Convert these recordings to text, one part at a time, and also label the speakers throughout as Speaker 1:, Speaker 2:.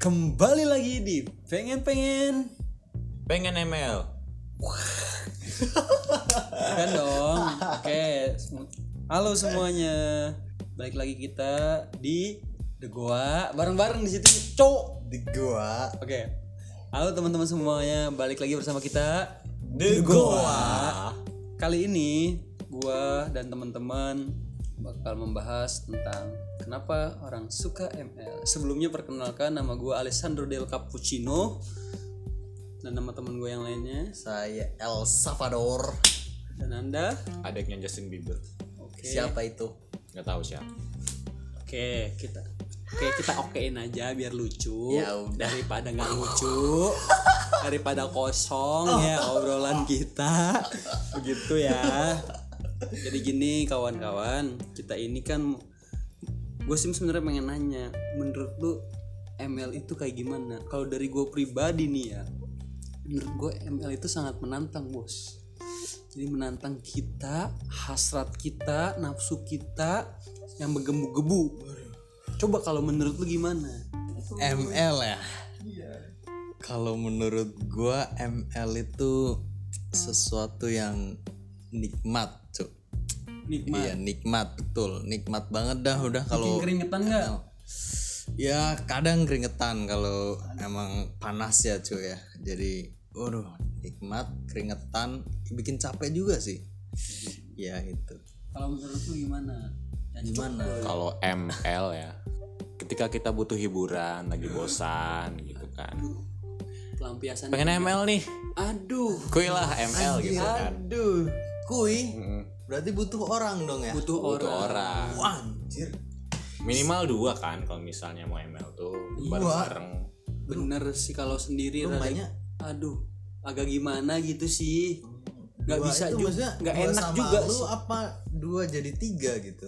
Speaker 1: Kembali lagi di pengen-pengen
Speaker 2: Pengen ML.
Speaker 1: Kan dong Oke sem- Halo semuanya Balik lagi kita di The Goa Bareng-bareng di situ Cok
Speaker 3: di gua
Speaker 1: Oke Halo teman-teman semuanya Balik lagi bersama kita
Speaker 2: The Goa.
Speaker 1: Kali ini gua dan teman-teman bakal membahas tentang kenapa orang suka ML. Sebelumnya perkenalkan nama gua Alessandro Del Cappuccino dan nama teman gue yang lainnya
Speaker 3: saya El Salvador
Speaker 1: dan Anda.
Speaker 2: Adiknya Justin Bieber.
Speaker 1: Oke.
Speaker 3: siapa itu
Speaker 2: Gak tahu siapa.
Speaker 1: Oke, kita Oke, kita okein aja biar lucu.
Speaker 3: Ya udah.
Speaker 1: Daripada nggak lucu, daripada
Speaker 3: Oh.
Speaker 1: kosong ya obrolan kita. Begitu ya. Jadi gini kawan-kawan, kita ini kan gue sih sebenarnya pengen nanya, menurut lu ML itu kayak gimana? Kalau dari gue pribadi nih ya, menurut gue ML itu sangat menantang bos jadi menantang kita hasrat kita nafsu kita yang menggebu-gebu coba kalau menurut lu gimana
Speaker 3: ML ya kalau menurut gua ML itu sesuatu yang nikmat cuk
Speaker 1: nikmat
Speaker 3: iya nikmat betul nikmat banget dah udah
Speaker 1: bikin
Speaker 3: kalau
Speaker 1: keringetan nggak
Speaker 3: ya kadang keringetan kalau emang panas ya cuy ya jadi waduh nikmat keringetan bikin capek juga sih ya itu
Speaker 1: kalau menurut lu gimana Ya, Dan gimana
Speaker 2: Kalau ML ya. Ketika kita butuh hiburan, lagi bosan gitu kan.
Speaker 1: pelampiasan
Speaker 2: Pengen ML nih.
Speaker 1: aduh
Speaker 2: Kuy lah ML gitu kan.
Speaker 3: aduh kui berarti butuh orang dong ya
Speaker 1: butuh
Speaker 2: Butuh
Speaker 1: orang
Speaker 2: orang.
Speaker 3: Wah, anjir
Speaker 2: Minimal dua kan kalau misalnya mau ML tuh bareng-bareng.
Speaker 1: bener sih kalau sendiri rada-
Speaker 3: banyak
Speaker 1: aduh agak gimana gitu sih nggak
Speaker 3: Dua
Speaker 1: bisa
Speaker 3: itu maksudnya
Speaker 1: juga nggak
Speaker 3: dua
Speaker 1: enak
Speaker 3: sama
Speaker 1: juga
Speaker 3: lu
Speaker 1: sih.
Speaker 3: apa dua jadi tiga gitu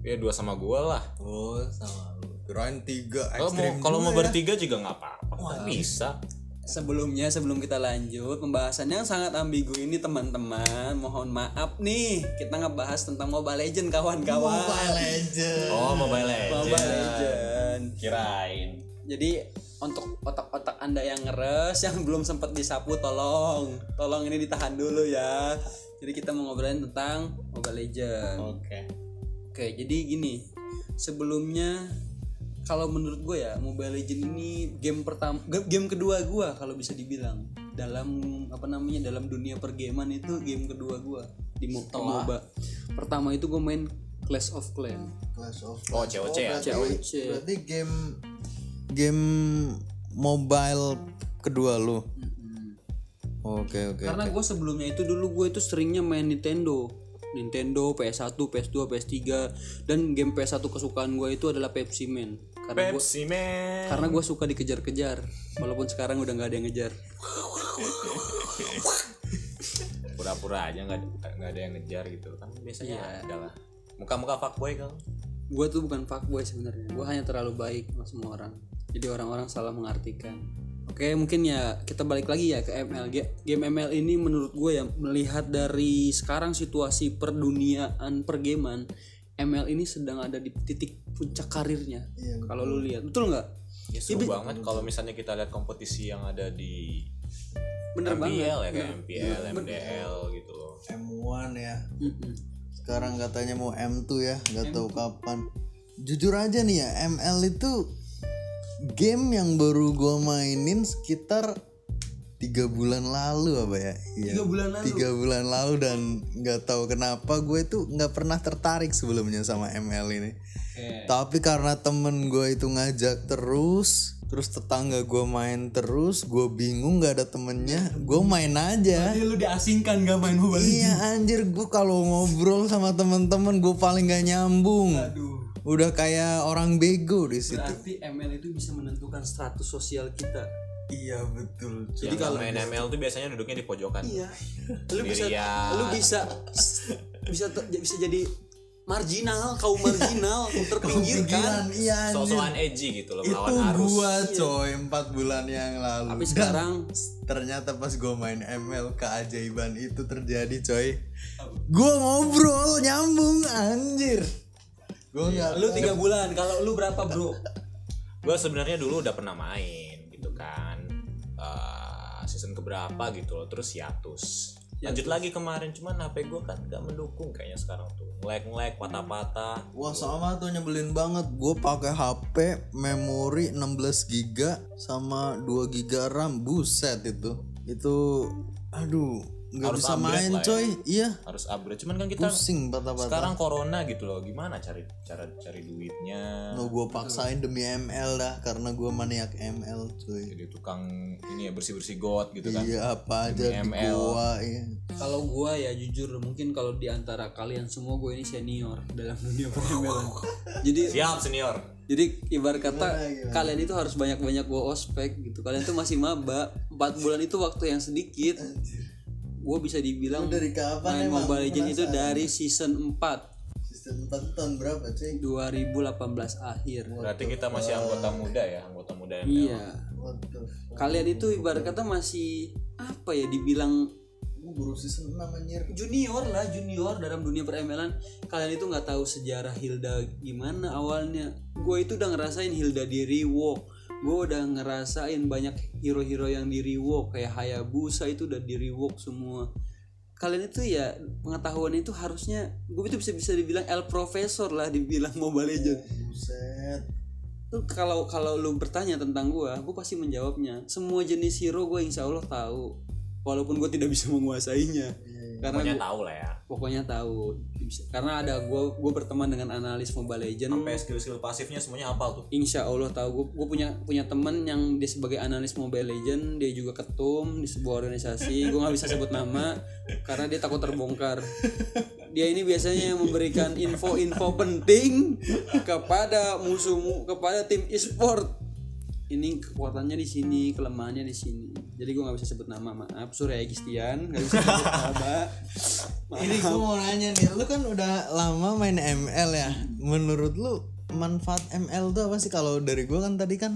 Speaker 2: Ya dua sama gua lah.
Speaker 3: oh sama lu kirain tiga
Speaker 2: Kalau mau
Speaker 3: ekstrim
Speaker 2: kalau
Speaker 3: dua
Speaker 2: mau
Speaker 3: ya.
Speaker 2: bertiga juga nggak apa-apa. Kan bisa.
Speaker 1: Sebelumnya sebelum kita lanjut pembahasannya yang sangat ambigu ini teman-teman mohon maaf nih kita ngebahas tentang Mobile Legend kawan-kawan
Speaker 3: Mobile Legends
Speaker 2: Oh, Mobile
Speaker 1: Mobile
Speaker 2: Legends.
Speaker 1: Legend
Speaker 2: Kirain.
Speaker 1: jadi untuk otak-otak anda yang ngeres yang belum sempat disapu tolong tolong ini ditahan dulu ya jadi kita mau ngobrolin tentang Mobile Legend
Speaker 3: oke
Speaker 1: Oke, jadi gini. Sebelumnya kalau menurut gue ya Mobile Legends ini game pertama ge- game kedua gue kalau bisa dibilang dalam apa namanya dalam dunia pergamean itu game kedua gue di Mo- atau MOBA. Pertama itu gue main Clash of Clans.
Speaker 3: Clash of
Speaker 2: Oh, COC ya?
Speaker 3: berarti-
Speaker 1: COC.
Speaker 3: berarti game game mobile kedua lu oke oke
Speaker 1: Karena gue sebelumnya itu dulu gue itu seringnya main Nintendo. Nintendo, PS1, PS2, PS3 dan game PS1 kesukaan gue itu adalah Pepsi Man. Karena gue
Speaker 2: Pepsi Man.
Speaker 1: karena gue suka dikejar-kejar walaupun sekarang udah nggak ada yang ngejar.
Speaker 2: pura-pura aja nggak ada- nggak ada yang ngejar gitu kan biasanya ada lah muka-muka fuckboy kan
Speaker 1: gue tuh bukan fuckboy sebenarnya gue hanya terlalu baik sama semua orang jadi orang-orang salah mengartikan oke mungkin ya kita balik lagi ya ke ML Ge- game ML ini menurut gue ya melihat dari sekarang situasi perduniaan pergaman ML ini sedang ada di titik puncak karirnya kalau lu lihat Iya, betul nggak
Speaker 2: ya seru banget kalau misalnya kita lihat kompetisi yang ada di
Speaker 1: bener banget
Speaker 2: MPL ya kayak MPL, MDL gitu loh
Speaker 3: M1 ya
Speaker 1: Mm-mm.
Speaker 3: sekarang katanya mau M2 ya nggak tahu kapan jujur aja nih ya ML itu game yang baru gua mainin sekitar tiga bulan lalu apa ya Iya,
Speaker 1: Tiga bulan lalu?
Speaker 3: tiga bulan lalu dan nggak tahu kenapa gue tuh nggak pernah tertarik sebelumnya sama ML ini tapi karena temen gue itu ngajak terus terus tetangga gue main terus gue bingung nggak ada temennya gue main aja
Speaker 1: lu diasingkan gak main mobile
Speaker 3: Iya anjir gue kalau ngobrol sama temen-temen gue paling gak nyambung.
Speaker 1: aduh
Speaker 3: Udah kayak orang bego di situ.
Speaker 1: berarti ML itu bisa menentukan status sosial kita
Speaker 3: Iya betul.
Speaker 2: jadi kalau main ML tuh biasanya duduknya di pojokan
Speaker 1: Iya. Lu bisa
Speaker 2: Sendirian.
Speaker 1: lu bisa bisa ter- bisa jadi marginal, kaum marginal, terpinggirkan.
Speaker 3: iya
Speaker 2: kan?
Speaker 3: anjir.
Speaker 2: sosokan edgy gitu loh
Speaker 3: Itu
Speaker 2: melawan arus
Speaker 3: gua coy empat bulan yang lalu.
Speaker 1: Tapi
Speaker 3: Dan
Speaker 1: sekarang
Speaker 3: ternyata pas gue main ML keajaiban itu terjadi coy. Gue ngobrol nyambung anjir. Gue nggak
Speaker 1: lu tiga bulan, kalau lu berapa, Bro?
Speaker 2: gue sebenarnya dulu udah pernah main gitu kan Eh, season keberapa gitu loh terus hiatus lanjut lagi kemarin cuman HP gue kan nggak mendukung kayaknya sekarang tuh ngelag ngelag patah-patah
Speaker 3: Wah sama tuh nyebelin banget. Gue pakai HP memori 16 giga sama 2 giga RAM. Buset itu. Itu aduh, nggak
Speaker 2: Harus
Speaker 3: bisa
Speaker 2: upgrade
Speaker 3: main
Speaker 2: lah ya.
Speaker 3: coy. Iya,
Speaker 2: harus upgrade cuman kan kita
Speaker 3: pusing patah-patah.
Speaker 2: sekarang corona gitu loh gimana cari cara cari duitnya
Speaker 3: No, gue paksain demi ML dah karena gue maniak ML coy.
Speaker 2: jadi tukang ini ya bersih bersih got gitu kan
Speaker 3: Iya apa aja di
Speaker 2: ML.
Speaker 3: gua iya.
Speaker 1: Kalau gua ya jujur mungkin kalau di antara kalian semua gue ini senior dalam dunia perembelan. Jadi
Speaker 2: siap senior
Speaker 1: Jadi ibarat kata kalian itu harus banyak-banyak gua ospek gitu. Kalian tuh masih maba. 4 bulan itu waktu yang sedikit. Gua bisa dibilang
Speaker 3: Dari
Speaker 1: main
Speaker 3: kapan emang?
Speaker 1: Mobile Legends itu dari season 4
Speaker 3: Sistem tahun berapa cuy?
Speaker 1: 2018 akhir.
Speaker 2: berarti kita masih anggota muda ya anggota muda ML
Speaker 1: Iya. Kalian itu ibarat kata masih apa ya dibilang
Speaker 3: Gue baru season 6 anjir.
Speaker 1: junior lah junior dalam dunia peremelan kalian itu nggak tahu sejarah Hilda gimana awalnya gue itu udah ngerasain Hilda di rework gue udah ngerasain banyak hero-hero yang di rework kayak Hayabusa itu udah di rework semua kalian itu ya pengetahuan itu harusnya gue itu bisa bisa dibilang el profesor lah dibilang
Speaker 2: Iya,
Speaker 1: mobile legend
Speaker 3: Buset.
Speaker 1: tuh kalau kalau lu bertanya tentang gue gue pasti menjawabnya semua jenis hero gue insya Allah tahu walaupun gue tidak bisa menguasainya
Speaker 3: iya,
Speaker 1: karena
Speaker 2: pokoknya
Speaker 1: gua-
Speaker 2: tahu lah ya
Speaker 1: pokoknya tahu Bisa- karena ada gue gue berteman dengan analis mobile legend
Speaker 2: sampai skill skill pasifnya semuanya hafal tuh
Speaker 1: insya allah tahu gue punya punya teman yang dia sebagai analis mobile legend dia juga ketum di sebuah organisasi gue nggak bisa sebut nama karena dia takut terbongkar dia ini biasanya yang memberikan info-info penting kepada musuhmu kepada tim e-sport ini kekuatannya di sini kelemahannya di sini jadi gue nggak bisa sebut nama maaf Surya Gistian nggak bisa sebut nama Maaf.
Speaker 3: Ini gue mau nanya nih, lu kan udah lama main ML ya. Menurut lu manfaat ML tuh apa sih? Kalau dari gue kan tadi kan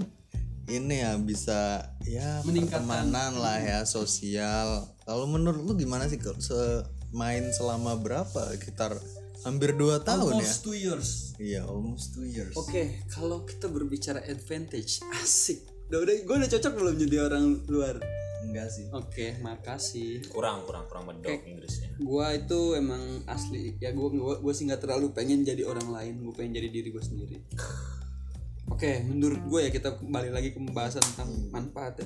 Speaker 3: ini ya bisa ya pertemanan lah ya sosial. Kalau menurut lu gimana sih kalau se- main selama berapa? Sekitar hampir 2 tahun ya?
Speaker 1: Almost two years
Speaker 3: Iya, almost 2 years.
Speaker 1: Oke, kalau kita berbicara advantage, asik. Udah, udah, gue udah cocok belum jadi orang luar.
Speaker 3: Enggak sih.
Speaker 1: Oke, makasih.
Speaker 2: kurang kurang kurang medok Inggrisnya
Speaker 1: Gua itu emang asli. Ya gue gua, gua sih nggak terlalu pengen jadi orang lain. Gue pengen jadi diri gue sendiri. Oke, menurut gue ya kita kembali lagi ke pembahasan tentang manfaat. ya.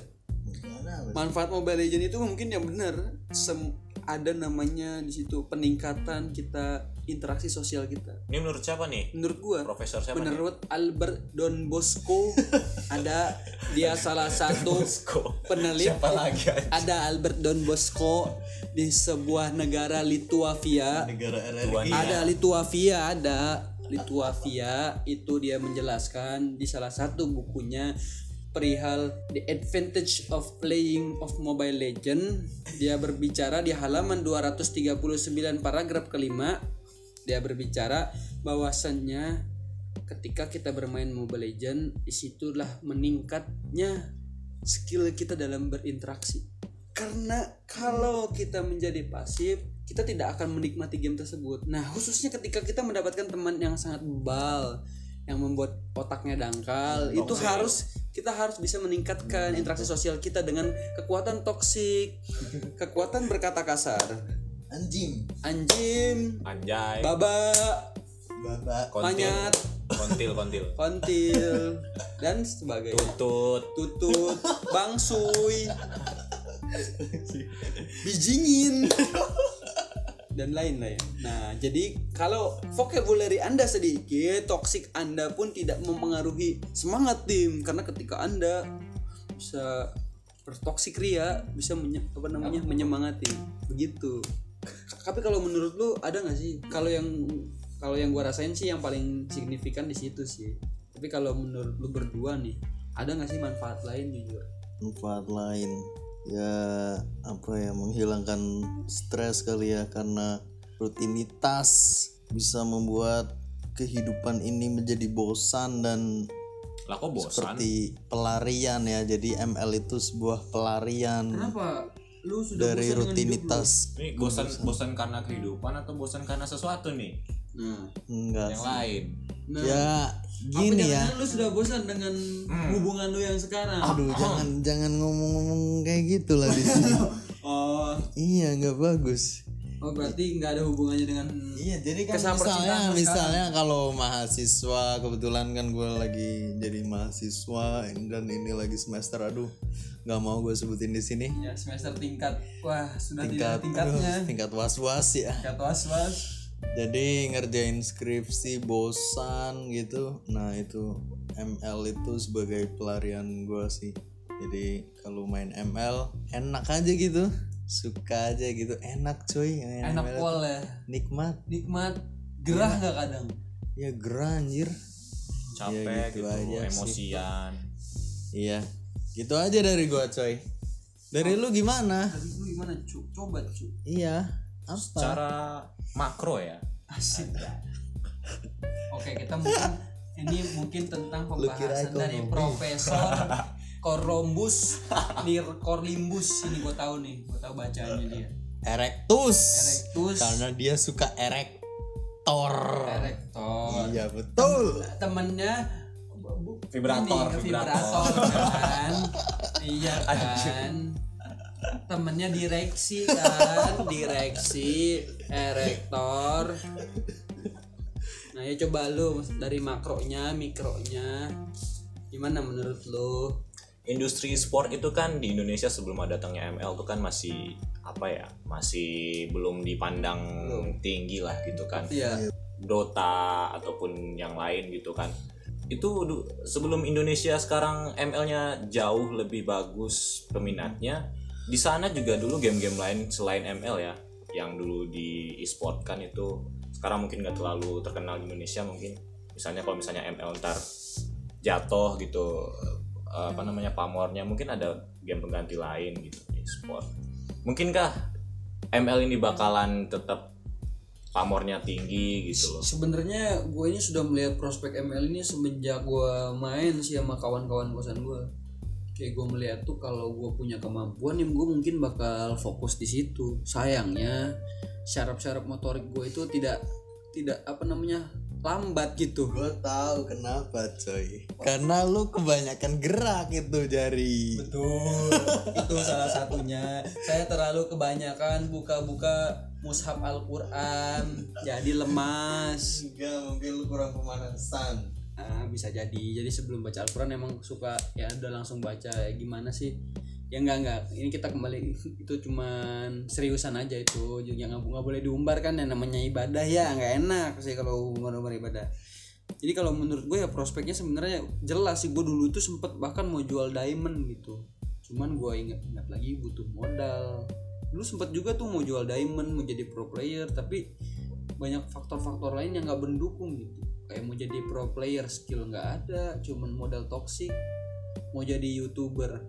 Speaker 1: Manfaat Mobile Legends itu mungkin yang benar. Sem- ada namanya di situ peningkatan kita interaksi sosial kita.
Speaker 2: ini menurut siapa nih
Speaker 1: Menurut gue
Speaker 2: profesor siapa nih
Speaker 1: menurut Albert Don Bosco ada dia salah satu
Speaker 2: Bosco
Speaker 1: peneliti
Speaker 2: siapa lagi aja?
Speaker 1: ada Albert Don Bosco di sebuah negara Lituania
Speaker 3: Negara
Speaker 2: Tuan
Speaker 3: RRI.
Speaker 1: ada Lituania ada Lituania itu dia menjelaskan di salah satu bukunya perihal the advantage of playing of mobile legend dia berbicara di halaman 239 paragraf kelima dia berbicara bahwasannya ketika kita bermain mobile legend disitulah meningkatnya skill kita dalam berinteraksi karena kalau kita menjadi pasif kita tidak akan menikmati game tersebut nah khususnya ketika kita mendapatkan teman yang sangat bebal yang membuat otaknya dangkal itu
Speaker 2: toxic.
Speaker 1: harus kita harus bisa meningkatkan interaksi sosial kita dengan kekuatan toksik kekuatan berkata kasar
Speaker 3: Anjing.
Speaker 1: anjim
Speaker 2: anjay
Speaker 1: baba
Speaker 3: Bapak.
Speaker 2: kontil
Speaker 1: manyat
Speaker 2: kontil kontil
Speaker 1: kontil dan sebagainya
Speaker 2: tutut
Speaker 1: tutut bangsui bijingin dan lain-lain nah jadi kalau vocabulary anda sedikit toxic anda pun tidak mempengaruhi semangat tim karena ketika anda bisa bertoksik ria bisa menye- apa namanya menyemangati begitu tapi kalau menurut lu ada nggak sih kalau yang kalau yang gua rasain sih yang paling signifikan di situ sih tapi kalau menurut lu berdua nih ada nggak sih manfaat lain jujur
Speaker 3: manfaat lain ya apa ya menghilangkan stres kali ya karena rutinitas bisa membuat kehidupan ini menjadi bosan dan
Speaker 2: lah kok bosan
Speaker 3: seperti pelarian ya jadi ML itu sebuah pelarian
Speaker 1: kenapa lu sudah
Speaker 3: Hmm. dari rutinitas
Speaker 2: ini bosan bosan karena kehidupan atau bosan karena sesuatu nih
Speaker 1: nah
Speaker 3: enggak
Speaker 2: yang lain
Speaker 1: Nah,
Speaker 3: ya
Speaker 1: apa
Speaker 3: gini ya
Speaker 1: jangan-jangan lu sudah bosan dengan hubungan lu yang sekarang?
Speaker 3: aduh jangan jangan ngomong-ngomong kayak gitu lah di sini
Speaker 1: Oh,
Speaker 3: iya nggak bagus
Speaker 1: oh berarti nggak ada hubungannya dengan
Speaker 3: Iya, jadi kan misalnya misalnya kalau mahasiswa kebetulan kan gue lagi jadi mahasiswa dan ini lagi semester aduh nggak mau gue sebutin di sini
Speaker 1: ya semester tingkat. Wah, sudah tidak
Speaker 3: tingkat
Speaker 1: ada tingkatnya.
Speaker 3: aduh, tingkat was was ya
Speaker 1: Tingkat was-was.
Speaker 3: jadi ngerjain skripsi bosan gitu nah itu ML itu sebagai pelarian gue sih jadi kalau main ML enak aja gitu suka aja gitu enak cuy main
Speaker 1: Enak
Speaker 3: ML.
Speaker 1: pol ya.
Speaker 3: nikmat
Speaker 1: Nikmat gerah
Speaker 3: Iya.
Speaker 1: nggak kadang?
Speaker 3: ya gerah anjir
Speaker 2: capek
Speaker 3: gitu
Speaker 2: gitu,
Speaker 3: aja sih.
Speaker 2: emosian
Speaker 3: Iya. Gitu aja dari gua, coy. Dari lu gimana?
Speaker 1: Tapi lu gimana, Cuk? Coba, Cuk.
Speaker 3: Iya. Apa?
Speaker 2: secara makro ya
Speaker 1: Asik. Oke, kita mungkin ini mungkin tentang pembahasan
Speaker 3: ekonomi.
Speaker 1: dari Profesor Korombus Nir Korlimbus ini gue tahu nih, gue tahu bacaannya dia.
Speaker 3: Erectus.
Speaker 1: Erectus.
Speaker 3: Karena dia suka erektor.
Speaker 1: Rektor.
Speaker 3: Iya, betul.
Speaker 1: Temennya bu-
Speaker 2: Vibrator,
Speaker 1: ini,
Speaker 2: vibrator.
Speaker 1: vibrator kan. iya kan. Temennya direksi kan, direksi, erektor. Nah, ya coba lu dari makronya, mikronya. Gimana menurut lu?
Speaker 2: industri sport itu kan di Indonesia sebelum ada datangnya ML tuh kan masih apa ya masih belum dipandang tinggi lah gitu kan
Speaker 1: Iya.
Speaker 2: Dota ataupun yang lain gitu kan itu du- sebelum Indonesia sekarang ML-nya jauh lebih bagus peminatnya di sana juga dulu game-game lain selain ML ya yang dulu di e-sport kan itu sekarang mungkin nggak terlalu terkenal di Indonesia mungkin misalnya kalau misalnya ML ntar jatuh gitu eh, apa namanya pamornya mungkin ada game pengganti lain gitu di e-sport mungkinkah ML ini bakalan tetap pamornya tinggi gitu loh
Speaker 1: Sebenarnya gue ini sudah melihat prospek ML ini semenjak gue main sih sama kawan-kawan kosan gue. Kayak gue melihat tuh kalau gue punya kemampuan yang gue mungkin bakal fokus di situ. Sayangnya syaraf-syaraf motorik gue itu tidak tidak apa namanya lambat gitu.
Speaker 3: Gua tahu kenapa, coy. Karena lu kebanyakan gerak itu jari.
Speaker 1: Betul. itu salah satunya. Saya terlalu kebanyakan buka-buka mushaf Al-Qur'an jadi lemas.
Speaker 3: Enggak, mungkin lu kurang pemanasan.
Speaker 1: Ah, bisa jadi jadi sebelum baca Al-Quran emang suka ya udah langsung baca ya gimana sih ya enggak enggak ini kita kembali itu cuman seriusan aja itu juga nggak nggak boleh diumbar kan yang namanya ibadah ya nggak enak sih kalau umbar umbar ibadah jadi kalau menurut gue ya prospeknya sebenarnya jelas sih gue dulu tuh sempet bahkan mau jual diamond gitu cuman gue ingat-ingat lagi butuh modal dulu sempet juga tuh mau jual diamond mau jadi pro player tapi banyak faktor-faktor lain yang nggak mendukung gitu kayak mau jadi pro player skill nggak ada cuman modal toksik mau jadi youtuber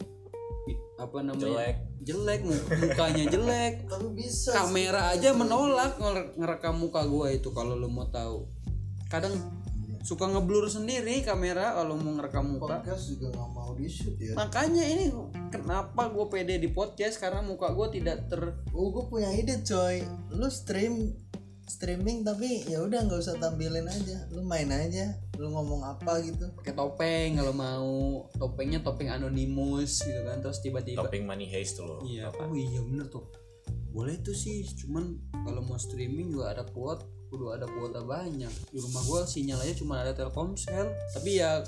Speaker 1: i- apa namanya
Speaker 2: jelek
Speaker 1: jelek, mu- mukanya jelek
Speaker 3: Tapi bisa.
Speaker 1: kamera aja menolak nger- ngerekam muka gua itu kalau lu mau tahu kadang suka ngeblur sendiri kamera kalau mau ngerekam muka
Speaker 3: Podcast juga nggak mau di shoot ya.
Speaker 1: makanya ini kenapa gue pede di podcast karena muka gue tidak ter
Speaker 3: Oh, gue punya ide coy. Lu stream streaming tapi ya udah nggak usah tampilin aja. Lu main aja. Lu ngomong apa gitu.
Speaker 1: pakai topeng kalau mau topengnya topeng anonimus gitu kan terus tiba-tiba
Speaker 2: topping money heist tuh loh
Speaker 1: Iya. Oh iya bener tuh. Boleh tuh sih, cuman kalau mau streaming juga ada kuot, kudu ada kuota banyak. Di rumah gua sinyal aja cuma ada Telkomsel. Tapi ya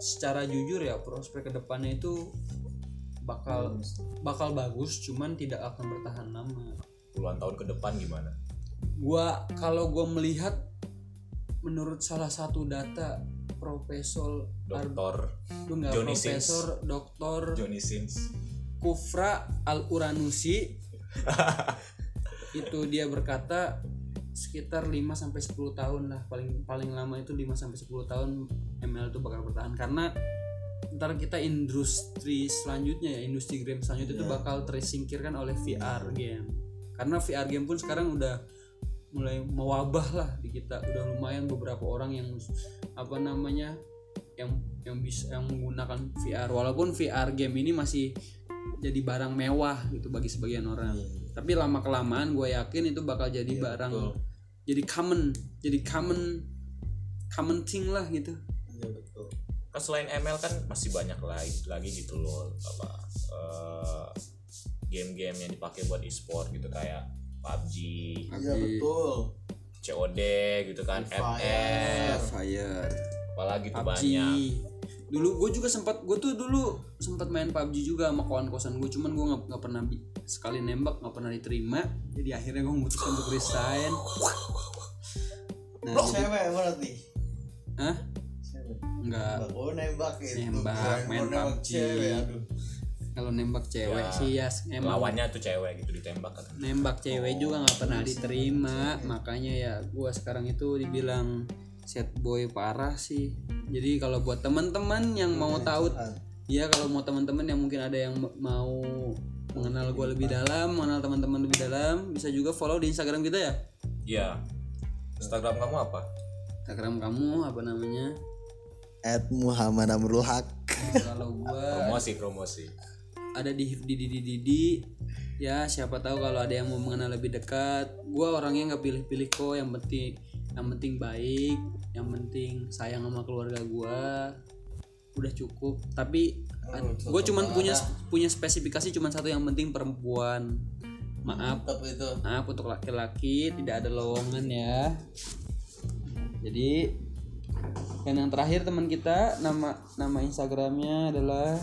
Speaker 1: secara jujur ya prospek kedepannya itu bakal bakal bagus, cuman tidak akan bertahan lama.
Speaker 2: puluhan tahun ke depan gimana
Speaker 1: Gua kalau gua melihat menurut salah satu data Profesor Ar-
Speaker 2: dokter
Speaker 1: lu nggak
Speaker 2: Johnny Sins.
Speaker 1: Profesor Doktor
Speaker 2: Johnny Sins
Speaker 1: Kufra al Uranusi itu dia berkata sekitar 5 sampai 10 tahun lah paling paling lama itu 5 sampai 10 tahun ML itu bakal bertahan karena ntar kita industri selanjutnya ya industri game selanjutnya itu bakal tersingkirkan oleh VR game karena VR game pun sekarang udah mulai mewabah lah di kita udah lumayan beberapa orang yang apa namanya yang yang bisa yang menggunakan VR walaupun VR game ini masih jadi barang mewah gitu bagi sebagian orang tapi lama Iya, kelamaan gue yakin itu bakal jadi barang jadi common jadi common common thing lah gitu
Speaker 2: Iya betul. Kan selain ML kan masih banyak lagi lagi gitu loh apa eh, game-game yang dipakai buat e-sport gitu kayak PUBG,
Speaker 1: Iya,
Speaker 3: betul.
Speaker 2: COD gitu kan,
Speaker 3: Free
Speaker 2: FF,
Speaker 1: fire
Speaker 2: apalagi tuh
Speaker 1: PUBG
Speaker 2: banyak.
Speaker 1: dulu gue juga sempat gue tuh dulu sempat main PUBG juga sama kawan kosan gue cuman gue nggak nggak pernah bi- sekali nembak nggak pernah diterima jadi akhirnya gue memutuskan untuk resign nah, jadi-
Speaker 4: Cewek berarti.
Speaker 1: Hah?
Speaker 4: Cewek.
Speaker 1: nggak
Speaker 4: Nembak. Oh nembak itu.
Speaker 1: Nembak,
Speaker 4: Kirain
Speaker 1: main
Speaker 4: mau nembak
Speaker 1: PUBG.
Speaker 4: Cewek aduh.
Speaker 1: kalau nembak cewek
Speaker 2: Ya,
Speaker 1: sih ya emang
Speaker 2: Lawannya tuh cewek gitu ditembak kan.
Speaker 1: nembak cewek juga nggak pernah diterima makanya ya gua sekarang itu dibilang set boy parah sih jadi kalau buat teman-teman yang mau
Speaker 3: Iya.
Speaker 1: tahu ya kalau mau teman-teman yang mungkin ada yang mau mengenal gua lebih dalam mengenal teman-teman lebih dalam bisa juga follow di instagram kita ya
Speaker 2: Iya. Instagram kamu apa?
Speaker 1: instagram kamu apa namanya
Speaker 3: At Muhammad Amrul Haq.
Speaker 1: kalau gua
Speaker 2: Promosi promosi.
Speaker 1: ada di di di di, di, di. ya siapa tahu kalau ada yang mau mengenal lebih dekat gua orangnya nggak pilih-pilih kok yang penting yang penting baik yang penting sayang sama keluarga gua udah cukup tapi gue cuman punya punya spesifikasi cuman satu yang penting perempuan maaf
Speaker 4: Mantap itu.
Speaker 1: maaf Nah, untuk laki-laki tidak ada lowongan ya jadi dan yang terakhir teman kita nama nama instagramnya adalah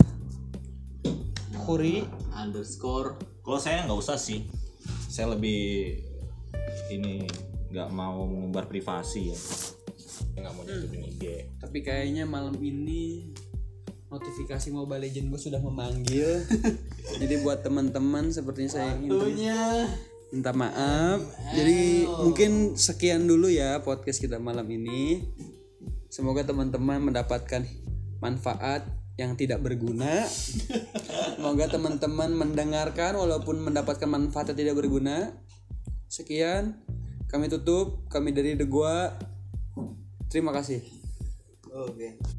Speaker 1: Kuri
Speaker 4: Underscore.
Speaker 2: Kalau saya nggak usah sih. Saya lebih ini nggak mau mengumbar privasi ya. Nggak mau nutupin IG.
Speaker 1: Tapi kayaknya malam ini notifikasi Mobile Legend gue sudah memanggil. Jadi buat teman-teman sepertinya saya ingin
Speaker 4: Punya.
Speaker 1: minta maaf. Jadi mungkin sekian dulu ya podcast kita malam ini. Semoga teman-teman mendapatkan manfaat yang tidak berguna. Semoga teman-teman mendengarkan walaupun mendapatkan manfaat yang tidak berguna. Sekian, kami tutup. Kami dari The Gua. Terima kasih.
Speaker 4: Oke.